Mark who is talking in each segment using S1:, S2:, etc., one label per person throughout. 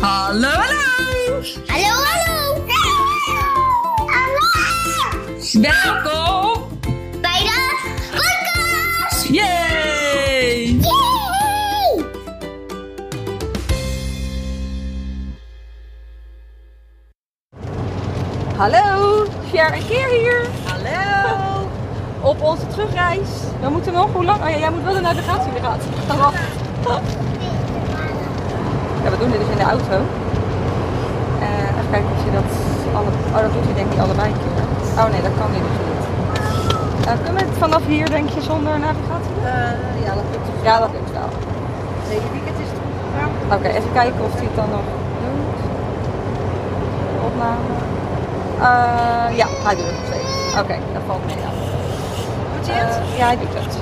S1: Hallo, hallo!
S2: Hallo, hallo! Hallo!
S1: Welkom!
S2: Bij de podcast!
S1: Yay!
S2: Yay!
S3: Hallo, Cher en Keer hier.
S1: Hallo!
S3: Op onze terugreis. We moeten nog hoe lang? Oh ja, jij moet wel de navigatie weer gaat. Wacht. Ja, we doen dit dus in de auto. Eh, even kijken of je dat alle... Oh, dat doet hij denk ik niet allebei een keer. Oh nee, dat kan hij dus niet. Eh, kunnen we het vanaf hier denk je zonder navigatie doen?
S1: Eh, ja, dat lukt toch?
S3: Ja, dat lukt wel.
S1: Deze weekend is het goed gegaan.
S3: Oké, even kijken of hij het dan nog doet. Opname. Eh, ja, hij doet het nog steeds. Oké, dat valt mee aan.
S1: Goed
S3: Eh, ja, hij doet het.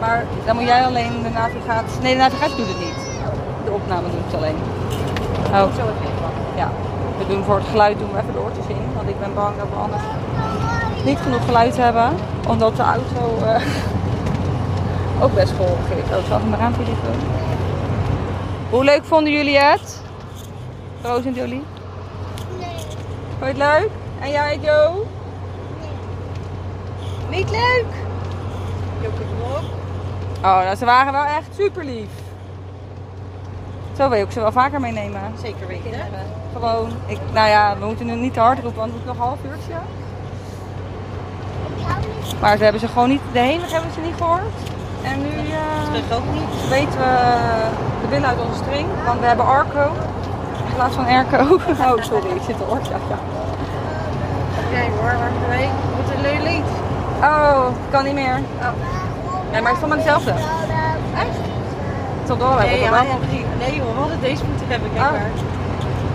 S3: Maar dan moet jij alleen de navigatie. Nee, de navigatie doet het niet. De opname doet het alleen. Oh,
S1: Zo even inpakken.
S3: ja. We doen voor het geluid doen we even de oortjes in. Want ik ben bang dat we anders niet genoeg geluid hebben. Omdat de auto eh, ook best golvig is. Oh, zal ik maar aan liggen? Hoe leuk vonden jullie het? Roos en Jolie? Vond je het leuk? En jij, Jo? Niet leuk?
S1: Joke Blok.
S3: Oh, nou, ze waren wel echt super lief. Zo wil ik ze wel vaker meenemen.
S1: Zeker weten. hè?
S3: Gewoon, ik, nou ja, we moeten nu niet te hard roepen, want het is nog een half uurtje. Maar ze hebben ze gewoon niet, de hele dag hebben ze niet gehoord. En nu eh,
S1: Terug ook niet.
S3: weten we de binnen uit onze string, want we hebben Arco. In plaats van Erco. Oh, sorry, ik zit te oortje. Ja.
S1: Jij hoor, waar ben je? Wat een leuk lied.
S3: Oh, kan niet meer. Nee, maar het is allemaal hetzelfde.
S1: Echt?
S3: Tot door.
S1: Nee,
S3: hebben we
S1: ja,
S3: het wel.
S1: nee joh, we hadden deze moeten hebben, kijk
S3: Ah.
S1: maar.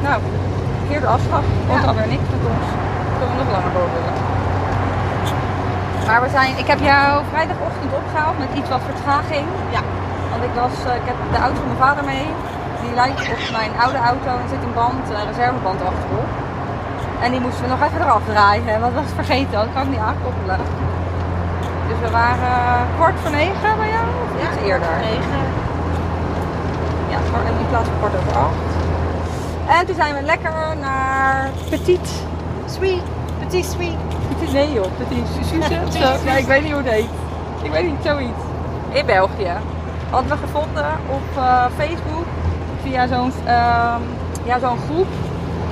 S3: Nou, verkeerde afslag. Komt alweer niks met ons. Kunnen we nog langer door willen. Maar we zijn, ik heb jou vrijdagochtend opgehaald met iets wat vertraging.
S1: Ja.
S3: Want ik, was, eh, ik heb de auto van mijn vader mee. Die lijkt op mijn oude auto en er zit een band, een reserveband achterop. En die moesten we nog even eraf draaien, want dat was vergeten. Dat kan ik niet aankoppelen. Dus we waren eh, kwart voor negen bij jou? Of iets eerder?
S1: Negen.
S3: Ja, kwart- in plaats van kwart over acht. En toen zijn we lekker naar Petit.
S1: Sweet. Petit sweet.
S3: Petit nee joh, Petit Suze of zo. Nee, ik weet niet hoe het heet. Ik weet niet, zoiets. In België. Hadden we gevonden op eh, Facebook via zo'n ehm, ja, zo'n groep.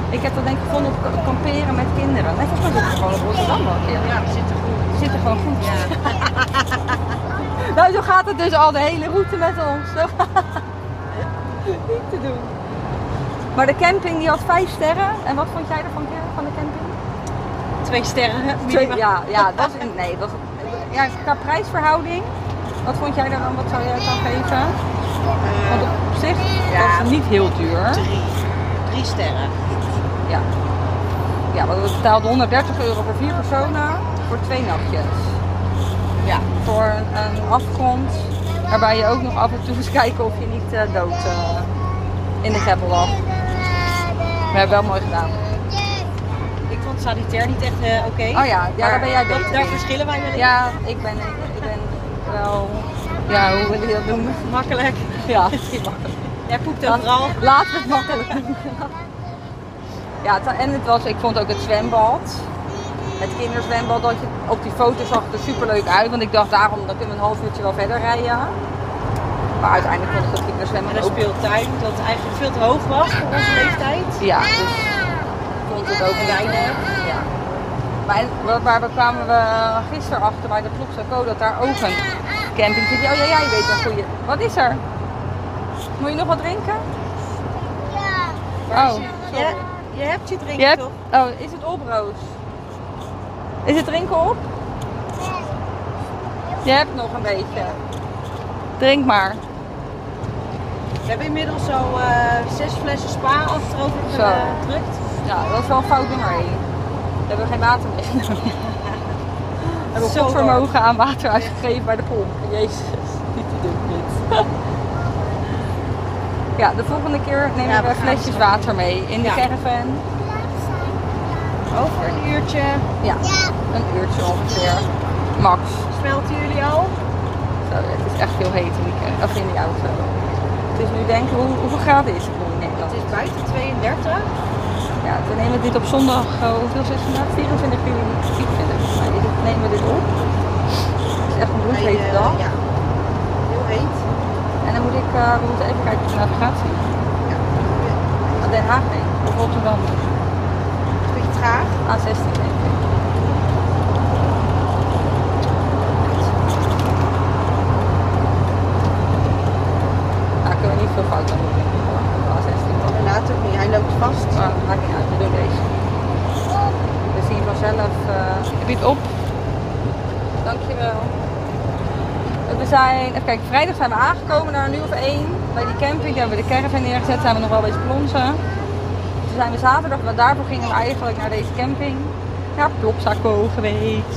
S3: Ik heb dat denk ik gevonden op k- kamperen met kinderen. Nee, volgens mij zitten ze gewoon op Rotterdam wel een keer.
S1: Ja, Nou, we zitten goed.
S3: Ze zitten gewoon goed. nou, zo gaat het dus al de hele route met ons. Zo gaat- Niet te doen. Maar de camping die had vijf sterren. En wat vond jij ervan, Ger, van de camping?
S1: Twee sterren.
S3: Twee, ja, ja, dat is, nee, dat ja, qua prijsverhouding, wat vond jij daaraan, wat zou jij het dan geven?
S1: Oh,
S3: Want op zich
S1: ja.
S3: was het niet heel duur.
S1: Drie. Drie sterren.
S3: Ja. ja, want we betaalden 130 euro voor vier personen, voor twee nachtjes.
S1: Ja.
S3: Voor een, een afgrond, waarbij je ook nog af en toe eens kijken of je niet eh, dood eh, in de greppel lag. We hebben wel mooi gedaan.
S1: Ik vond sanitair niet echt eh, oké.
S3: Oh ja, ja, daar
S1: Maar
S3: ben jij
S1: dat-
S3: beter
S1: Daar
S3: in.
S1: verschillen wij wel in.
S3: Ja, ik ben, ik ben wel, ja, hoe wil je dat noemen?
S1: Makkelijk.
S3: Ja, die mag
S1: Jij poept
S3: Laat-
S1: overal.
S3: Laten we het makkelijk doen. Ja, het- en het was, ik vond ook het zwembad. Het kinderzwembad, dat je, op die foto zag het er superleuk uit. Want ik dacht, daarom dan kunnen we een half uurtje wel verder rijden. Maar uiteindelijk vond ik het
S1: En
S3: kinderzwembad
S1: een
S3: ook...
S1: speeltuin dat eigenlijk veel te hoog was voor
S3: Ah.
S1: onze leeftijd.
S3: Ja, dus ik vond het ook weinig. Ja. Maar, en- waar- waar we kwamen we gisteren achter bij de Ploegsaco dat daar ook een camping zit. Oh ja, jij weet een goede. Wat is er? Moet je nog wat drinken?
S1: Waar is
S3: Oh.
S1: je- Je, je hebt je drinken
S3: Je hebt-
S1: toch?
S3: Oh, is het op, Roos? Is het drinken op? Je hebt nog een beetje. Drink maar.
S1: We hebben inmiddels zo eh, zes flessen spa achterover
S3: Zo.
S1: eh, gedrukt.
S3: Ja, dat is wel fout nummer één. We hebben geen water meer. We hebben
S1: Zo
S3: goed vermogen aan water uitgegeven bij de pomp. Jezus, niet te doen dit. Ja, de volgende keer nemen
S1: Ja, we
S3: we
S1: gaan
S3: flesjes
S1: zo.
S3: water mee in de
S1: Ja.
S3: caravan.
S1: Over een uurtje.
S3: Ja, een uurtje ongeveer. Max.
S1: Smelten jullie al?
S3: Zo, het is echt heel heet in die, ke- of in die auto. Het is nu denk ik, hoe, hoeveel graden is het nu in Nederland?
S1: Het is buiten 32. 30.
S3: Ja, we nemen dit op zondag, eh, hoeveel is het vandaag? 24 juli, 24 volgens mij. Dit- Nou, Nemen we dit op. Het is echt een
S1: Bij,
S3: bloedhete
S1: eh,
S3: dag.
S1: Ja. Heel heet.
S3: En dan moet ik, eh, we moeten even kijken op de navigatie.
S1: Ja.
S3: Aan Den Haag heen, of Rotterdam,
S1: Een beetje traag.
S3: A16 denk ik. Daar kunnen we niet veel fout aan doen, denk ik, hoor, op de A16. wel.
S1: En laat ook niet. Hij loopt vast.
S3: Maar het maakt niet uit, we doen deze. We zien Dus vanzelf. eh Bied op. Dankjewel. We zijn, even kijken, vrijdag zijn we aangekomen naar een uur of één. Bij die camping, daar hebben we de caravan neergezet, zijn we nog wel bezig plonsen. Toen zijn we zaterdag, want daarvoor gingen we eigenlijk naar deze camping. Ja, Plopsaco geweest.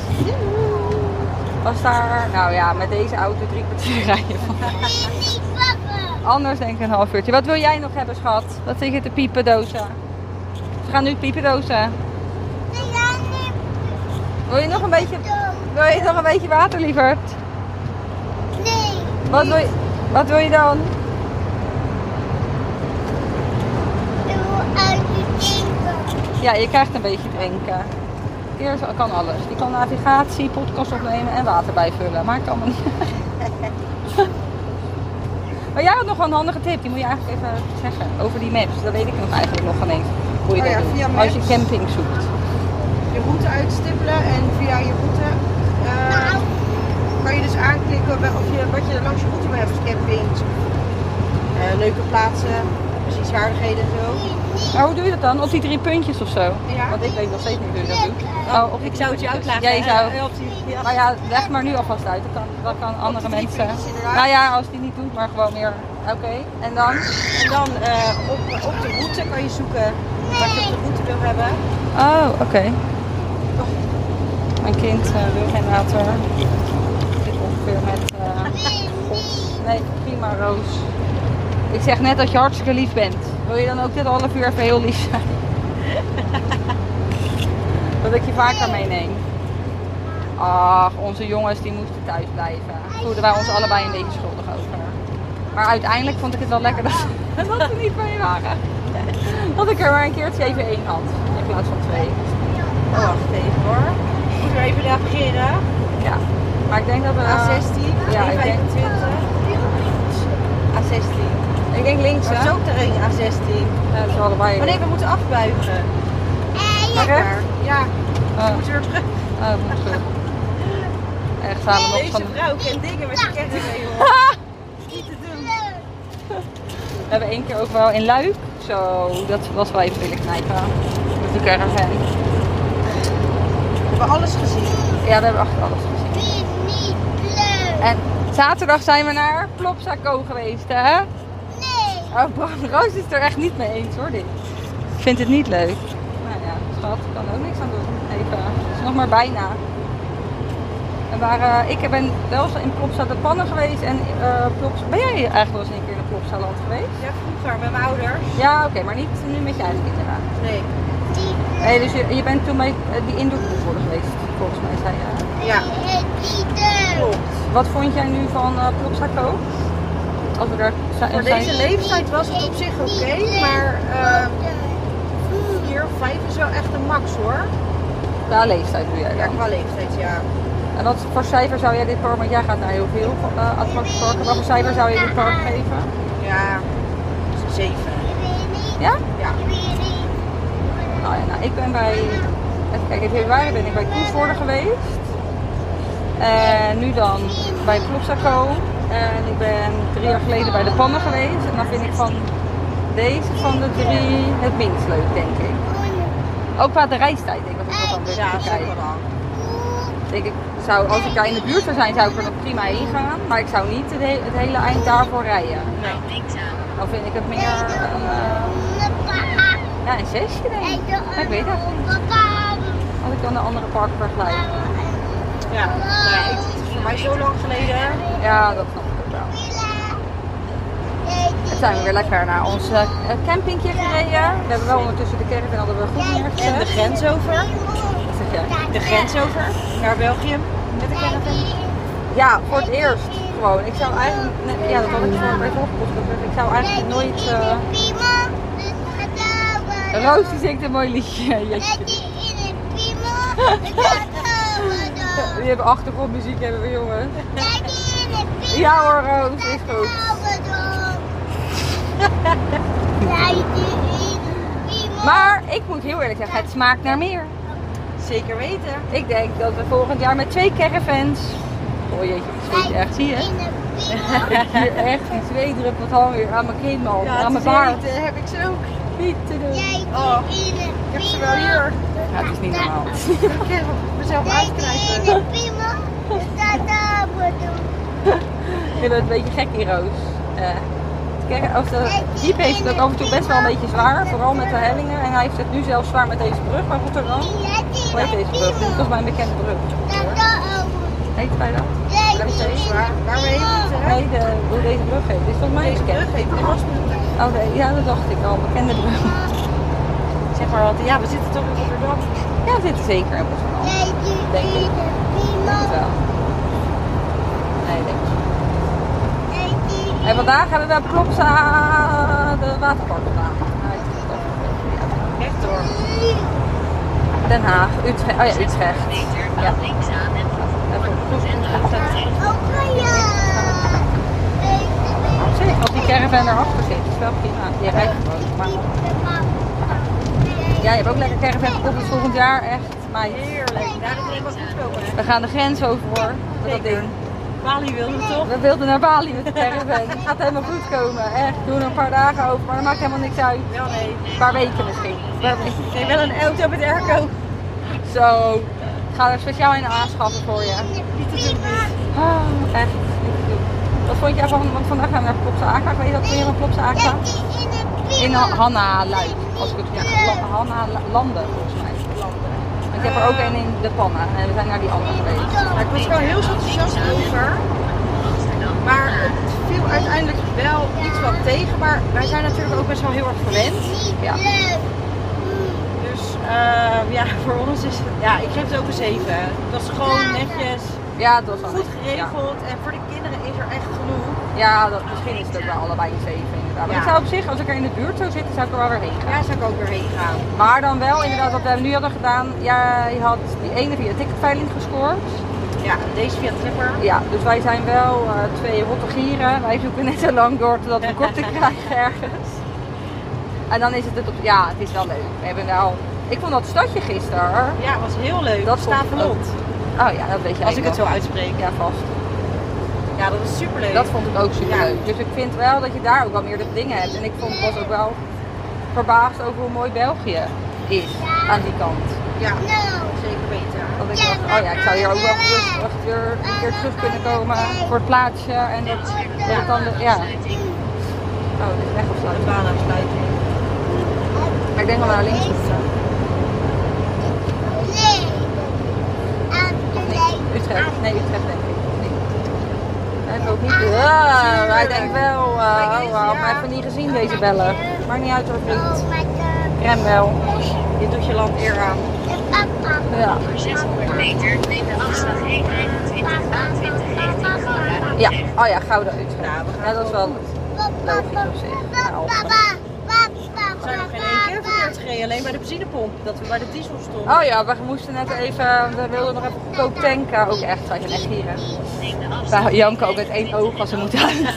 S3: Was daar, nou ja, met deze auto drie kwartier rijden van
S2: Niet pakken.
S3: Anders denk ik een half uurtje. Wat wil jij nog hebben, schat? Wat zit je te piepen, dozen? We gaan nu piepen, dozen.
S2: Nee, daar niet
S3: Wil je nog een beetje,
S2: doen.
S3: wil je nog een beetje water, lieverd?
S2: Nee.
S3: Wat wil je, wat wil je dan?
S2: Ik wil uit je drinken.
S3: Ja, je krijgt een beetje drinken. Eerst kan alles. Die kan navigatie, podcast opnemen en water bijvullen. Maakt allemaal niet uit. Maar jij had nog wel een handige tip, die moet je eigenlijk even zeggen. Over die maps, dat weet ik nog eigenlijk nog geen eens. Hoe je
S1: Oh
S3: dat
S1: ja,
S3: doet.
S1: via
S3: Als je
S1: maps.
S3: camping zoekt.
S1: Je route uitstippelen en via je route eh, kan je dus aanklikken wel- of je, wat je langs je route wil hebben. Dus campings, eh, leuke plaatsen, bezienswaardigheden en zo.
S3: Maar Oh, hoe doe je dat dan? Op die drie puntjes of zo?
S1: Ja.
S3: Want ik weet nog steeds niet hoe je dat doet. Oh, op die
S1: zou het je
S3: uitleggen, Jij hè? zou- Eh, Maar ja, leg maar nu alvast uit. Dat kan, dat kan andere
S1: drie
S3: mensen.
S1: puntjes inderdaad.
S3: Nou ja, als die niet doet, maar gewoon meer. Oké, en dan?
S1: En dan eh, op, op de route kan je zoeken wat je op de route wil hebben.
S3: Oh, oké. Mijn kind eh, wil geen water. Zit ongeveer met. eh, nee, prima, Roos. Ik zeg net dat je hartstikke lief bent. Wil je dan ook dit half uur even heel lief zijn? dat ik je vaker meeneem. Ach, onze jongens die moesten thuis blijven. Voelden wij ons allebei een beetje schuldig over. Maar uiteindelijk vond ik het wel lekker dat, dat ze niet mee waren. Dat ik er maar een keertje even één had. In plaats van twee.
S1: Oh, wacht even hoor. Ik moet er even reageren.
S3: Ja, maar ik denk dat we eh,
S1: A16,
S3: ja, ik denk-
S1: A25. A16.
S3: Ik denk links,
S1: Dat
S3: hè?
S1: is ook de ring A16.
S3: Ja, dat is allebei.
S1: Maar nee, we moeten afbuigen.
S3: Maar recht?
S1: Ja,
S3: Oh,
S1: we moeten weer terug.
S3: oh, moet goed. Echt samen nog van.
S1: Deze vrouw kent dingen met de kettingen, joh. Niet te doen.
S3: We hebben één keer ook wel in Luik. Zo, dat was wel even willen knijpen. Met de caravan.
S1: We hebben alles gezien.
S3: Ja, we hebben echt alles gezien.
S2: Niet leuk.
S3: En zaterdag zijn we naar Plopsaco geweest, hè?
S2: Nee.
S3: Oh, Bram Roos is het er echt niet mee eens, hoor, dit. Ik vind het niet leuk. Nou ja, schat, ik kan er ook niks aan doen. Even, het is nog maar bijna. En waar, eh, ik ben wel eens in Plopsa de Pannen geweest en eh Plops... Ben jij eigenlijk wel eens een keer naar Plopsa Land geweest?
S1: Ja, vroeger met mijn ouders.
S3: Ja, oké, maar niet nu met je eigen kinderen.
S1: Nee.
S2: Die
S3: Nee, dus je, je bent toen bij eh, die indoorproef geweest, volgens mij zei je.
S1: Ja,
S2: het niet leuk.
S1: klopt.
S3: Wat vond jij nu van eh Plopsa Co? Als we daar zi-
S1: Voor
S3: zijn...
S1: deze leeftijd was het op zich oké, maar eh, vier, vijf is wel echt de max hoor.
S3: Qua leeftijd doe jij
S1: Ja,
S3: dan.
S1: qua leeftijd ja.
S3: En wat voor cijfer zou jij dit park, want jij gaat naar heel veel eh attractieparken, wat voor cijfer zou je dit park geven?
S1: Ja, zeven.
S3: Ja?
S1: Ja.
S3: Nou ja, nou, ik ben bij, even kijken, in februari ben ik bij Koevoorde geweest. En nu dan bij Plopsaco. En ik ben drie jaar geleden bij de Pannen geweest. En dan vind ik van deze van de drie het minst leuk, denk ik. Ook qua de reistijd, denk ik, als ik dat dan weer
S1: Ja,
S3: bekijk.
S1: zeker dan.
S3: Ik, ik zou, als ik daar in de buurt zou zijn, zou ik er nog prima heen gaan. Maar ik zou niet het, he- het hele eind daarvoor rijden.
S1: Nee.
S3: Dan vind ik het meer een, eh, ja, een zesje denk ik. Ja, ik weet het eigenlijk niet. Als ik dan de andere parken vergelijk.
S1: Ja, nou ja, ik- het is voor mij zo lang geleden.
S3: Ja, dat snap ik ook wel. Het zijn we weer lekker naar ons eh, campingje gereden. We hebben wel ondertussen de caravan hadden we goed neergezet.
S1: En de grens over.
S3: Wat zeg jij?
S1: De grens over naar België met de caravan.
S3: Ja, voor het eerst gewoon. Ik zou eigenlijk, nee, ja dat had ik voor bij het hoofdpot gezegd. Ik zou eigenlijk nooit, eh,
S2: Prima, dus gedaan.
S3: Roos die zingt een mooi liedje. Jeetje.
S2: Dat die in het piemel. Dat gaan we
S3: Die
S2: dan.
S3: hebben achtergrondmuziek hebben we jongen.
S2: Dat die in het piemel.
S3: Ja hoor Roos,
S2: Dat
S3: is goed.
S2: gaan we dan. Dat die in het piemel.
S3: Maar ik moet heel eerlijk zeggen, het smaakt naar meer.
S1: Zeker weten.
S3: Ik denk dat we volgend jaar met twee caravans. Oh jeetje, het zweet echt, zie je?
S2: In het piemel.
S3: Ik hier echt die zweet druppelt gewoon weer aan mijn kin, man.
S1: Ja,
S3: aan
S1: te
S3: mijn baard.
S1: weten heb ik ze ook.
S3: Niet te doen.
S2: Jij
S1: Oh,
S2: die in het
S1: Ik heb ze wel
S2: piemel.
S1: hier.
S3: Ja, het is niet normaal.
S1: Ik heb mezelf
S2: Dat die in
S1: uitknijpen.
S2: het piemel. Dat gaan we dan.
S3: Ik ben een beetje gek in Roos. Eh, Kijk, als de jeep heeft het ook af en toe best wel een beetje zwaar, vooral met de hellingen. En hij heeft het nu zelfs zwaar met deze brug bij Rotterdam. Hoe heet deze brug? Dit was mijn bekende brug. Nou, Heet wij dat? Nee, de, hoe deze brug heet. Dit is toch mijn
S1: Deze
S3: bekende?
S1: brug heeft in Wasmund.
S3: Oké, ja dat dacht ik al. Bekende brug. Zeg maar altijd, ja we zitten toch in Rotterdam. Ja, we zitten zeker in Rotterdam. Denk het wel. Nee, denk ik niet. En vandaag hebben we Plopsa de waterpark gedaan. Nou, ik vind het ook een beetje, ja.
S1: Rechtdoor.
S3: Den Haag, Utrecht. Oh ja, Utrecht. Ja. Even goed. Zeg, als die caravan erachter zit, is wel prima. Je rijdt gewoon. Maar... Ja, je hebt ook lekker caravan koffie volgend jaar. Echt, meid.
S1: Heerlijk. Daar is helemaal goedkomen.
S3: We gaan de grens over hoor. Met dat
S1: Zeker.
S3: ding.
S1: Bali wilde toch?
S3: We wilden naar Bali met de caravan. Het gaat helemaal goed komen. Echt, we doen er een paar dagen over. Maar dat maakt helemaal niks uit.
S1: Wel nee.
S3: Een paar weken misschien. Een paar weken.
S1: Nee, wel een auto met airco.
S3: Zo. Ik ga er speciaal een aanschaffen voor je. Ah, echt. niet te doen. Wat vond jij van, want vandaag gaan we naar Plopsa Aqua. Weet je dat weer een Plopsa Aqua? In Ha- Hanna Luik, als ik het goed zeg. La- Hanna La- Landen, volgens mij. Want ik heb er ook één in de pannen en we zijn naar die andere geweest.
S1: Ja, Nou, ik was wel heel enthousiast over. Maar het viel uiteindelijk wel iets wat tegen. Maar wij zijn natuurlijk ook best wel heel erg gewend.
S3: Ja.
S1: Dus eh, ja, voor ons is het... Ja, ik geef het ook een 7. Het was gewoon netjes,
S3: Ja, dat was wel
S1: goed
S3: leuk.
S1: geregeld. En voor de kinderen is er echt genoeg.
S3: Ja, ja dat, misschien is het ook wel allebei een 7 inderdaad. Maar
S1: Ja.
S3: ik zou op zich, als ik er in de buurt zou zitten, zou ik er wel weer heen gaan.
S1: Daar zou ik ook weer heen gaan.
S3: Maar dan wel inderdaad wat we nu hadden gedaan. Jij had die ene via ticketveiling gescoord.
S1: Ja, deze via Tripper.
S3: Ja, dus wij zijn wel eh, twee rotte gieren. Wij zoeken net zo lang door totdat we korting krijgen ergens. En dan is het, het op, ja, het is wel leuk. We hebben wel, ik vond dat stadje gisteren.
S1: Ja, was heel leuk.
S3: Dat vond ik
S1: Stavelot.
S3: Oh ja, dat weet je
S1: Als ik het zo
S3: eigenlijk
S1: uitspreek.
S3: wel. Ja, vast.
S1: Ja, dat is superleuk.
S3: Dat vond ik ook super leuk. Dus ik vind wel dat je daar ook wel meer de dingen hebt. En ik vond, was ook wel verbaasd over hoe mooi België is aan die kant.
S1: Ja, zeker beter.
S3: Dat ik dacht, oh ja, ik zou hier ook wel gerust weer een keer terug kunnen komen voor het plaatsje. En dat, dat het dan, de- ja. Oh, dit is weg of
S1: De baanafsluiting.
S3: Maar ik denk wel naar links moeten. Utrecht. Nee, Utrecht denk ik. Nee. Ik ook niet. Ah, hij denkt wel. eh, oh, we hadden mij even niet gezien deze bellen. Maakt niet uit hoor, vriend. Rem wel.
S1: Je doet je land eer aan.
S3: Ja.
S4: Voor 600 meter neemt de afslag 121 A20 richting Gouda.
S3: ja. Oh ja, Gouda Utrecht.
S1: Nou, we gaan
S3: Ja, dat is wel logisch op zich. Nou,
S1: We zijn nog geen één keer verkeerd gereden. Alleen bij de benzinepomp. Dat we bij de diesel stonden.
S3: Oh ja, we moesten net even, we wilden nog even goedkoop tanken. Ook echt, wij zijn echt gieren.
S4: Neemt de afslag
S3: Wij janken ook met één oog als ze moeten uit.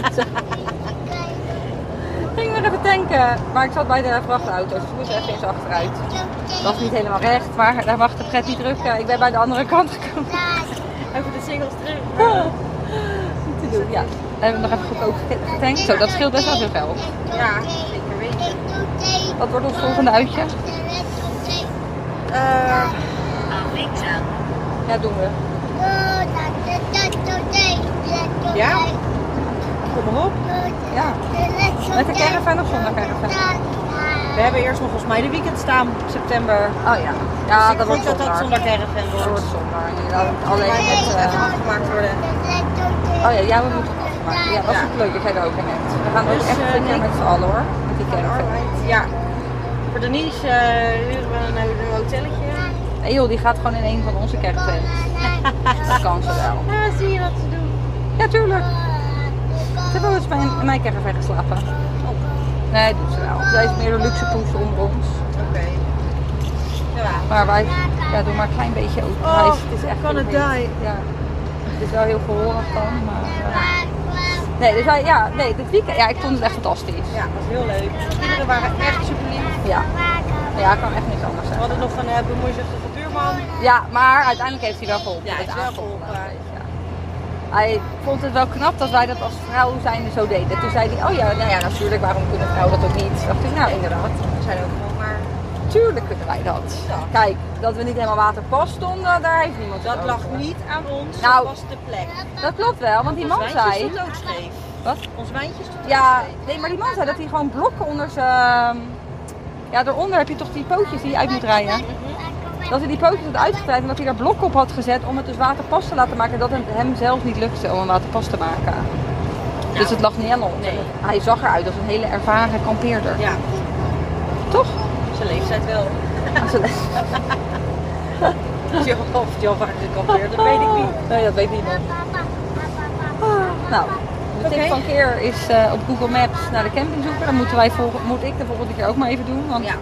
S3: Ging nog even tanken, maar ik zat bij de vrachtauto's, dus ik moest even eens achteruit. Dat was niet helemaal recht, maar daar mag de pret niet drukken. Ik ben bij de andere kant gekomen.
S1: Over de singles terug.
S3: Niet te doen, ja. En we hebben nog even goedkoop gete- getankt. Zo, dat scheelt best wel veel geld.
S1: Ja, zeker weten.
S3: Wat wordt ons volgende uitje?
S1: Eh,
S4: aan links aan.
S3: Ja, doen we.
S2: Ja?
S1: kom maar op.
S3: Ja.
S2: Met de caravan of zonder
S3: caravan?
S1: We
S2: caravan?
S1: hebben eerst nog volgens mij de weekend staan. September.
S3: Oh ja. Ja,
S1: Dus ik
S3: dat wordt
S1: hoop dat dat
S3: zondag.
S1: zonder caravan
S3: Dat wordt
S1: wordt.
S3: zondag, inderdaad. Alleen met... eh,
S1: afgemaakt worden.
S3: Oh ja, ja, we moeten het afmaken. Ja, dat is
S1: Ja.
S3: ook leuk. Ik heb er ook in net. We gaan ook
S1: Dus,
S3: echt
S1: eh,
S3: een keer
S1: Nick-
S3: met z'n allen hoor. Met die caravan.
S1: Ja. Voor Denise eh, huren we een, een hotelletje.
S3: En joh, die gaat gewoon in een van onze caravans. Dat kan ze wel.
S1: Ja, zie je wat ze doen.
S3: Ja, tuurlijk. Ze hebben wel eens
S1: Oh.
S3: bij in mijn caravan geslapen. Nee, doet ze wel. Zij is meer de luxe poes onder ons.
S1: Oké.
S3: Maar wij ja, doen maar een klein beetje open.
S1: Oh,
S3: Hij is- het is echt
S1: kan het
S3: heel goed.
S1: die.
S3: Ja. Het is wel heel gehoorig dan, maar... eh, Nee, dus wij, ja, nee, dit weekend, ja, ik vond het echt fantastisch.
S1: Ja, dat was heel leuk. De kinderen waren echt super lief.
S3: Ja, ja ik kan echt niks anders
S1: We
S3: zeggen.
S1: hadden nog een eh, bemoeizuchtige buurman.
S3: Ja, maar uiteindelijk heeft hij wel geholpen.
S1: Ja, hij
S3: met
S1: heeft wel
S3: aankopen,
S1: geholpen.
S3: ja. Hij vond het wel knap dat wij dat als vrouw zijnde zo deden. Toen zei hij, oh ja, nou ja, natuurlijk, waarom kunnen vrouwen dat ook niet? Dacht ik, nou inderdaad,
S1: We zijn ook gewoon maar...
S3: tuurlijk kunnen wij dat. Kijk, dat we niet helemaal waterpas stonden, daar heeft niemand het
S1: Dat
S3: over.
S1: lag niet aan ons,
S3: Nou.
S1: dat was de plek.
S3: Dat klopt wel, want die
S1: Ons
S3: man
S1: wijntje
S3: zei...
S1: stond ook scheef.
S3: Wat?
S1: Ons wijntje stond
S3: Ja, nee, maar die man zei dat hij gewoon blokken onder zijn... ehm, Ja, daaronder heb je toch die pootjes die je uit moet rijden. Dat hij die pootjes had uitgedraaid en dat hij daar blok op had gezet om het dus waterpas te laten maken. Dat het hem zelf niet lukte om een waterpas te maken. Dus het lag niet aan ons.
S1: Nee.
S3: Hij zag eruit als een hele ervaren kampeerder.
S1: Ja,
S3: Toch?
S1: zijn leeftijd wel. Of je- Of het al vaak gekampeerd, dat weet ik niet.
S3: Nee, dat weet niemand. Nou, de tip
S1: Oké.
S3: van Keer is eh, op Google Maps naar de camping zoeken. Dan moeten wij volgen, moet ik de volgende keer ook maar even doen. Want
S1: Ja.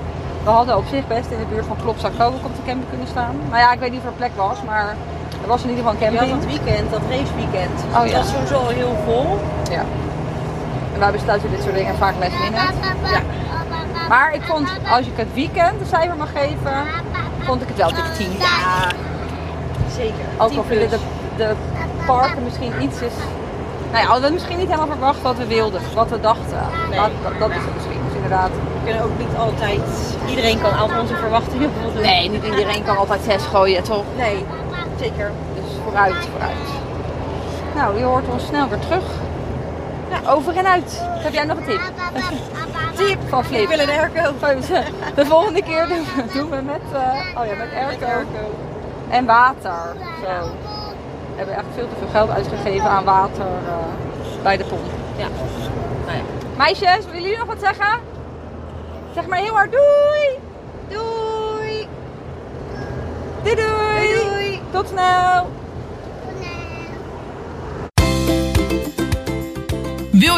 S3: we hadden op zich best in de buurt van Klopzak ook op de camping kunnen staan. Maar ja, ik weet niet of er plek was, maar er was in ieder geval een
S1: Je had
S3: camping.
S1: dat weekend, dat raceweekend.
S3: Oh
S1: dat
S3: ja.
S1: was sowieso al heel vol.
S3: Ja. En wij besluiten dit soort dingen vaak last minute. Maar ik vond, als ik het weekend een cijfer mag geven, vond ik het wel dik 10.
S1: Ja, zeker.
S3: Ook
S1: 10
S3: al vinden de,
S1: plus.
S3: de parken misschien iets is... Nou ja, we hadden misschien niet helemaal verwacht wat we wilden, wat we dachten.
S1: Nee.
S3: Dat, dat- dat is het misschien, dus inderdaad.
S1: We kunnen ook niet altijd... Iedereen kan aan onze verwachtingen voldoen.
S3: Nee, niet iedereen kan altijd zes gooien, toch?
S1: Nee, zeker.
S3: Dus vooruit, vooruit. Nou, je hoort ons snel weer terug. Ja, over en uit. Heb jij nog een tip? Tip van Flip.
S1: Ik wil een airco.
S3: De volgende keer doen we, doen we met, eh, oh ja, met airco en water. Zo. We hebben echt veel te veel geld uitgegeven aan water eh, bij de pomp.
S1: Ja. Nou ja.
S3: Meisjes, willen jullie nog wat zeggen? Zeg maar heel hard doei! Doei! Doei doei! Tot snel!
S5: Wil